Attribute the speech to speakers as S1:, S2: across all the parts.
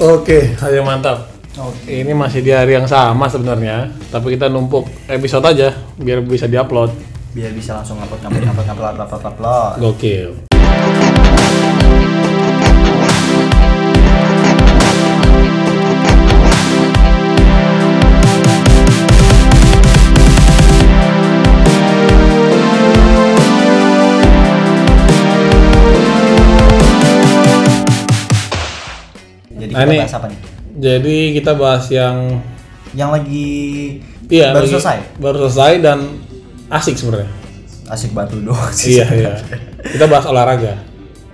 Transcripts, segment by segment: S1: Oke.
S2: Hari yang mantap.
S1: Oke.
S2: Ini masih di hari yang sama sebenarnya, tapi kita numpuk episode aja biar bisa diupload.
S1: Biar bisa langsung ngupload ngupload ngupload ngupload ngupload ngupload.
S2: Gokil.
S1: Jadi
S2: Nah,
S1: kita
S2: ini-
S1: bahas apa nih?
S2: Jadi kita bahas yang
S1: Yang lagi
S2: iya
S1: baru
S2: lagi-
S1: selesai.
S2: Baru selesai dan asik sebenarnya.
S1: Asik batu doang sih.
S2: iya, iya. Kita bahas olahraga.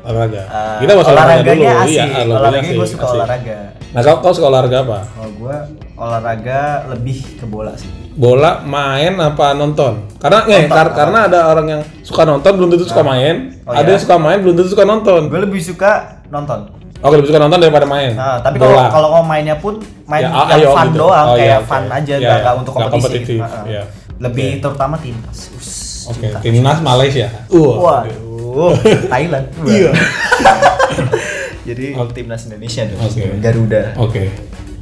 S2: Olahraga.
S1: Eh,
S2: kita bahas olahraga dulu.
S1: olahraganya asik.
S2: Iya,
S1: olahraganya gue
S2: asik,
S1: suka
S2: asik.
S1: olahraga.
S2: Nah, kau, kau suka olahraga apa?
S1: Kalau gue olahraga lebih ke bola sih.
S2: Bola, main apa nonton? Karena eh, kar- karena ada orang yang suka nonton belum tentu suka main.
S1: Oh,
S2: ada
S1: iya.
S2: yang suka main belum tentu suka nonton.
S1: Gue lebih suka nonton.
S2: Oke, lebih suka Oh, nonton daripada main.
S1: Nah, tapi kalau
S2: Bola.
S1: kalau mau mainnya pun main
S2: Ya,
S1: yang
S2: ayo
S1: fun
S2: gitu.
S1: doang,
S2: Oh, iya,
S1: kayak
S2: oke.
S1: fun aja,
S2: Iya,
S1: nggak
S2: iya.
S1: nggak untuk
S2: Nggak
S1: kompetisi.
S2: kompetitif,
S1: Heeh.
S2: iya.
S1: Lebih
S2: Oke.
S1: terutama timnas. Us,
S2: Oke,
S1: cinta.
S2: timnas Malaysia. Wah.
S1: Waduh, Thailand.
S2: Iya.
S1: Jadi
S2: Oke.
S1: timnas Indonesia dong.
S2: Oke.
S1: Garuda.
S2: Oke.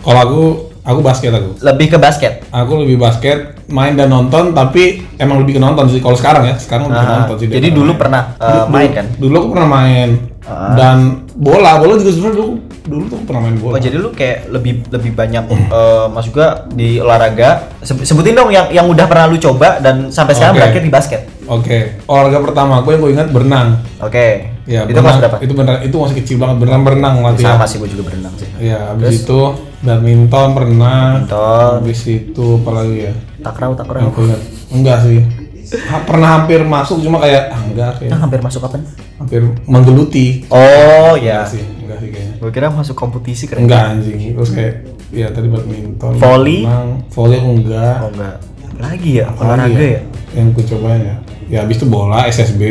S2: Kalau aku aku basket aku.
S1: Lebih ke basket.
S2: Aku lebih basket, main dan nonton, tapi emang lebih ke nonton sih. Kalau sekarang ya, sekarang lebih ke
S1: Nah,
S2: nonton sih.
S1: jadi
S2: daripada
S1: dulu
S2: main.
S1: pernah eh,
S2: Dulu-
S1: main kan?
S2: Dulu aku pernah main
S1: Ah.
S2: dan bola, bola juga sebenarnya dulu dulu tuh aku pernah main bola.
S1: Oh, jadi lu kayak lebih lebih banyak
S2: Iya.
S1: eh mas juga di olahraga. Se- Sebutin dong yang yang udah pernah lu coba dan sampai sekarang
S2: Oke.
S1: berakhir di basket.
S2: Oke, olahraga pertama aku yang aku ingat berenang.
S1: Oke.
S2: Ya,
S1: itu
S2: berenang.
S1: kelas berapa?
S2: Itu bener, itu masih kecil banget berenang berenang latihan.
S1: Sama sih gua juga berenang sih.
S2: Ya, habis itu badminton pernah.
S1: Badminton.
S2: Habis itu apa lagi ya?
S1: Takraw, takraw.
S2: Aku ingat. Enggak sih. Ha- pernah hampir masuk cuma kayak ah, enggak kayak
S1: Nah, hampir masuk kapan?
S2: hampir menggeluti.
S1: Oh
S2: Enggak
S1: ya.
S2: Iya. sih, Iya. enggak sih kayaknya.
S1: Gue kira masuk kompetisi keren.
S2: Enggak anjing. Terus kayak ya tadi badminton,
S1: Volley?
S2: berenang, volley aku enggak.
S1: Oh enggak. Lagi ya
S2: Apa lagi
S1: olahraga ya?
S2: Yang ku cobain ya. Ya habis itu bola SSB.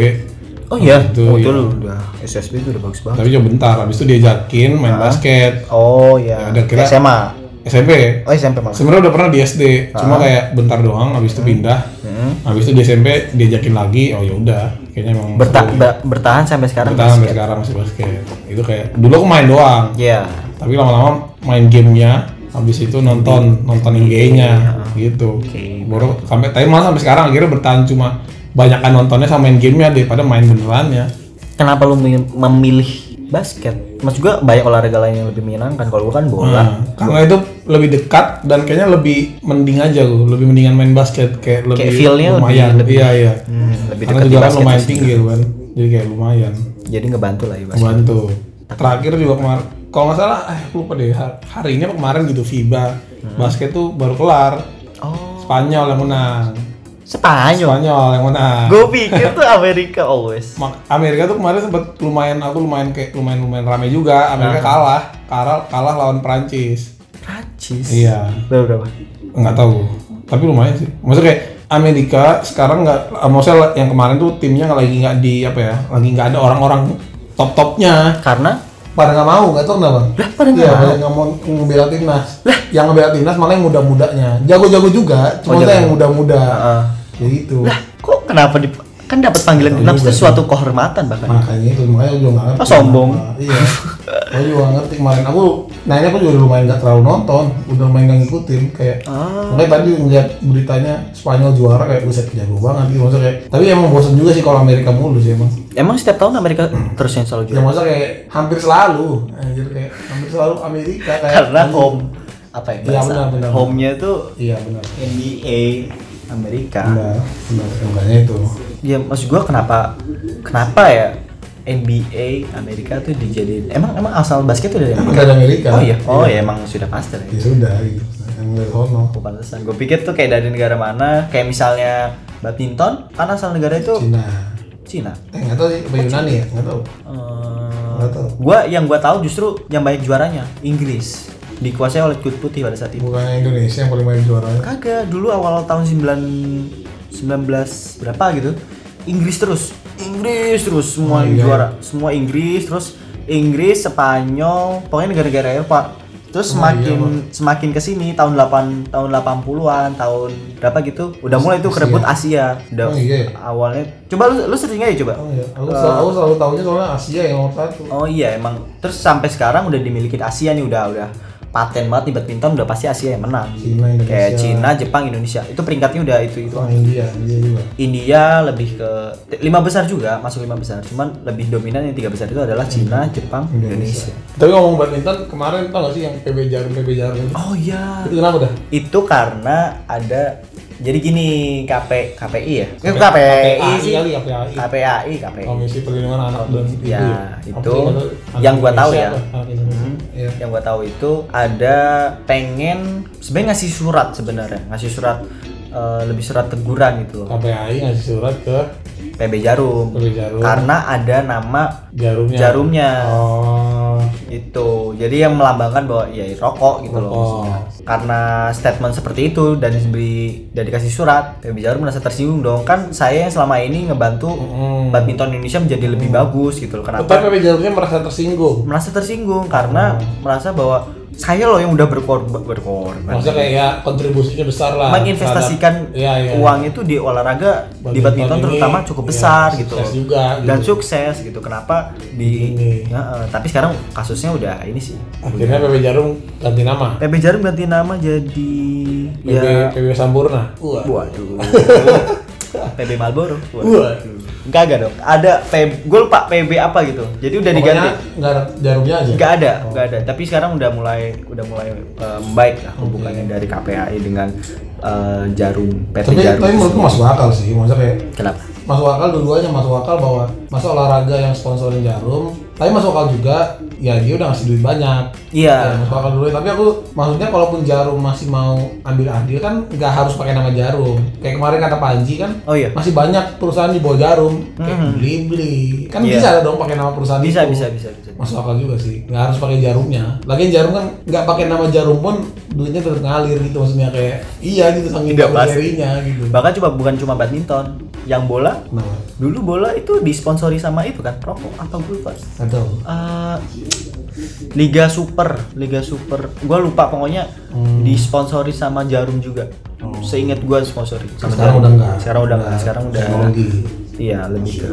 S1: Oh iya.
S2: Itu,
S1: oh, itu
S2: iya.
S1: lu udah SSB itu udah bagus banget.
S2: Tapi cuma bentar, habis itu diajakin main
S1: Ah.
S2: basket
S1: Oh
S2: Ya,
S1: iya.
S2: udah kira-
S1: SMA.
S2: SMP.
S1: Oh SMP malah.
S2: Sebenarnya udah pernah di SD, cuma kayak bentar doang habis itu pindah.
S1: Ah. Hmm.
S2: Habis itu di SMP diajakin lagi, oh ya udah, kayaknya emang
S1: Berta-
S2: seru.
S1: ber- bertahan sampai sekarang.
S2: Iya. Bertahan sampai sekarang masih basket. Itu kayak dulu aku main doang,
S1: Iya.
S2: tapi lama-lama main gamenya, habis itu nonton nonton IG-nya gitu. Baru sampai tapi malah sampai sekarang akhirnya bertahan cuma banyakan nontonnya sama main gamenya daripada main ya. benerannya.
S1: Kenapa lu mi- memilih basket? Mas juga banyak olahraga lain yang lebih menyenangkan. Kalau gua kan bola.
S2: Nah, karena itu lebih dekat dan kayaknya lebih mending aja gue, lebih mendingan main basket kayak lebih
S1: feel-nya lebih-
S2: lumayan.
S1: lebih-
S2: iya iya.
S1: Hmm, lebih
S2: Karena
S1: dekat di
S2: juga kan
S1: basket.
S2: lumayan
S1: sih.
S2: tinggi kan, jadi kayak lumayan.
S1: Jadi ngebantu lah ya basket.
S2: bantu terakhir juga kemarin kalau nggak salah eh aku lupa deh ha- hari ini apa kemarin gitu FIBA basket tuh baru kelar
S1: Oh,
S2: Spanyol yang menang
S1: Spanyol.
S2: Spanyol yang menang
S1: Gue pikir tuh Amerika always.
S2: Ma- Amerika tuh kemarin sempat lumayan aku lumayan kayak lumayan lumayan rame juga Amerika kalah kalah kalah lawan Prancis
S1: Prancis.
S2: iya
S1: Berapa? berapa?
S2: nggak tahu tapi lumayan sih maksudnya kayak Amerika sekarang nggak ah, maksudnya yang kemarin tuh timnya nggak- lagi nggak di apa ya lagi nggak ada orang-orang top topnya
S1: Karena
S2: pada nggak mau nggak tahu kenapa
S1: Lah, pada nggak
S2: Iya, pada nggak mau ngebela timnas yang ngebela timnas malah yang muda-mudanya jago-jago juga cuma
S1: jago.
S2: yang muda-muda
S1: Oh, Heeh.
S2: ya gitu
S1: Lah, kok kenapa di kan dapat panggilan genap itu suatu kehormatan bahkan.
S2: makanya itu makanya aku juga nggak ngerti
S1: Oh, sombong.
S2: Kenapa. iya aku juga nggak ngerti kemarin aku nanya aku juga lumayan nggak terlalu nonton udah lumayan nggak ngikutin kayak
S1: Ah.
S2: makanya tadi ngeliat beritanya Spanyol juara kayak buset jago banget gitu maksudnya kayak tapi emang bosan juga sih kalau Amerika mulu sih emang
S1: Emang setiap tahun Amerika terus yang selalu
S2: ya
S1: juara.
S2: maksudnya kayak hampir selalu anjir kayak hampir selalu Amerika kayak
S1: Karena home apa ya?
S2: Iya, benar, benar.
S1: Home-nya tuh
S2: iya benar
S1: NBA Amerika.
S2: Benar, benar, makanya itu.
S1: Ya maksud gua kenapa kenapa ya NBA Amerika tuh dijadiin emang emang asal basket tuh dari Amerika.
S2: Dari Amerika.
S1: Oh iya, oh iya emang sudah pasti lah.
S2: Ya
S1: ya.
S2: sudah gitu. Yang dari sono.
S1: Oh, pantesan. Gue pikir tuh kayak dari negara mana, kayak misalnya badminton, kan asal negara itu
S2: Cina.
S1: Cina.
S2: Eh nggak tahu sih, apa Yunani ya? Nggak tahu.
S1: Eh,
S2: Nggak tahu.
S1: gua yang gua tahu justru yang banyak juaranya Inggris dikuasai oleh kulit putih pada saat itu
S2: Bukannya Indonesia yang paling banyak juaranya?
S1: kagak dulu awal tahun 9 19 berapa gitu Inggris terus Inggris terus
S2: Oh,
S1: semua yang
S2: iya.
S1: juara semua Inggris terus Inggris Spanyol pokoknya negara-negara Eropa Terus
S2: Oh,
S1: semakin
S2: iya,
S1: semakin ke sini tahun 8 tahun 80-an, tahun berapa gitu, udah mulai itu
S2: Asia.
S1: kerebut Asia. Udah
S2: Oh, iya.
S1: awalnya. Coba lu lu searching aja coba.
S2: Oh iya, aku, sel- aku selalu tahunya soalnya Asia yang nomor satu.
S1: Oh iya emang. Terus sampai sekarang udah dimiliki Asia nih udah udah paten banget nih badminton udah pasti Asia yang menang.
S2: Cina, Iya, Indonesia.
S1: Kayak Cina, Jepang, Indonesia. Itu peringkatnya udah itu itu.
S2: Sama India, India juga.
S1: India lebih ke lima besar juga masuk lima besar cuman lebih dominan yang tiga besar itu adalah Cina, Jepang, Indonesia.
S2: Tapi ngomong badminton kemarin tau gak sih yang PB Jarum PB Jarum itu?
S1: Oh iya.
S2: Itu kenapa dah?
S1: Itu karena ada jadi gini KP KPI ya. Eh, KPI
S2: KPI
S1: sih.
S2: kali ya, KPI.
S1: KPI KPI.
S2: Komisi Perlindungan Anak dan Ibu
S1: Ya,
S2: Apa
S1: itu
S2: sih kalau anak
S1: yang gua tahu
S2: Indonesia
S1: ya.
S2: apa? Anak Indonesia. Iya.
S1: Yang gua tahu itu ada pengen sebenarnya ngasih surat sebenarnya, ngasih surat eh, lebih surat teguran gitu loh.
S2: KPI ngasih surat ke
S1: PB Jarum.
S2: PB Oh. Jarum.
S1: Karena ada nama
S2: Jarumnya.
S1: jarumnya.
S2: Oh.
S1: gitu jadi yang melambangkan bahwa ya rokok gitu loh
S2: Rokok.
S1: maksudnya. karena statement seperti itu dan diberi dan dikasih surat ya bicara merasa tersinggung dong kan saya yang selama ini ngebantu
S2: Mm.
S1: badminton Indonesia menjadi lebih bagus gitu loh
S2: Tapi
S1: kenapa
S2: PB Jarumnya merasa tersinggung.
S1: merasa tersinggung karena merasa bahwa saya loh yang udah berkorban berkorban
S2: Maksudnya kayak ya kontribusinya besar lah.
S1: menginvestasikan
S2: terhadap- Iya, iya.
S1: uang itu di olahraga di badminton
S2: ini,
S1: terutama cukup
S2: iya,
S1: besar gitu
S2: sukses juga, gitu.
S1: dan sukses gitu kenapa di
S2: Ini.
S1: Ya, eh, tapi sekarang kasusnya udah ini sih
S2: Akhirnya PB Jarum ganti nama.
S1: PB Jarum ganti nama jadi
S2: PB,
S1: ya
S2: PB Sampurna. Wah.
S1: waduh PB Malboro
S2: Wah.
S1: enggak enggak dong ada PB gue lupa PB apa gitu jadi udah diganti
S2: Pokoknya Oh. nggak ada jarumnya aja.
S1: enggak ada enggak ada tapi sekarang udah mulai udah mulai eh, membaik lah hubungannya dari KPAI dengan eh, Jarum PT
S2: Tapi
S1: Jarum
S2: tapi menurutku masuk akal sih. Maksudnya kayak
S1: kenapa
S2: masuk akal dua-duanya masuk akal bahwa masa olahraga yang sponsorin jarum tapi masuk akal juga ya dia udah ngasih duit banyak Ya,
S1: iya
S2: masuk akal dulu tapi aku maksudnya kalaupun jarum masih mau ambil andil kan nggak harus pakai nama jarum kayak kemarin kata Panji kan
S1: oh iya
S2: masih banyak perusahaan di bawah jarum kayak
S1: Mhm.
S2: beli beli kan
S1: Iya.
S2: bisa dong pakai nama perusahaan
S1: bisa
S2: itu.
S1: bisa bisa bisa
S2: masuk akal juga sih nggak harus pakai jarumnya lagian jarum kan nggak pakai nama jarum pun duitnya tetap ngalir gitu maksudnya kayak iya gitu saking
S1: Tidak pasti.
S2: serinya gitu Nah,
S1: bahkan cuma bukan cuma badminton yang bola
S2: kenapa
S1: dulu bola itu disponsori sama itu kan rokok apa gue lupa
S2: atau
S1: Eh, Liga Super, Liga Super. Gua lupa pokoknya Hmm. disponsori sama Jarum juga. Seingat gua disponsori Oh. sama
S2: Sekarang
S1: Jarum.
S2: udah enggak.
S1: Sekarang udah enggak.
S2: Udah
S1: Sekarang udah
S2: teknologi.
S1: Iya, lebih ke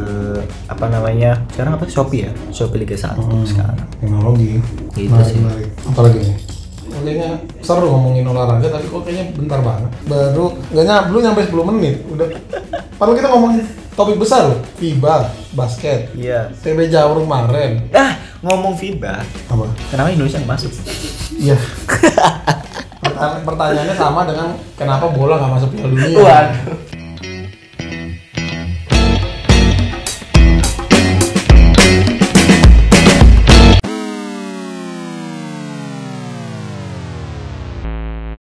S1: apa namanya? Sekarang apa? Shopee ya. Shopee Liga 1 sekarang.
S2: Hmm. teknologi
S1: Gitu sih.
S2: menarik apalagi nih kayaknya seru ngomongin olahraga tapi kok kayaknya bentar banget baru nggak nyampe belum nyampe 10 menit udah padahal kita ngomongin topik besar loh FIBA basket
S1: Iya.
S2: TB Jarum kemarin
S1: Ah, ngomong FIBA,
S2: apa
S1: kenapa Indonesia nggak masuk?
S2: iya Pertanya- pertanyaannya sama dengan kenapa bola nggak masuk Piala Dunia
S1: Waduh.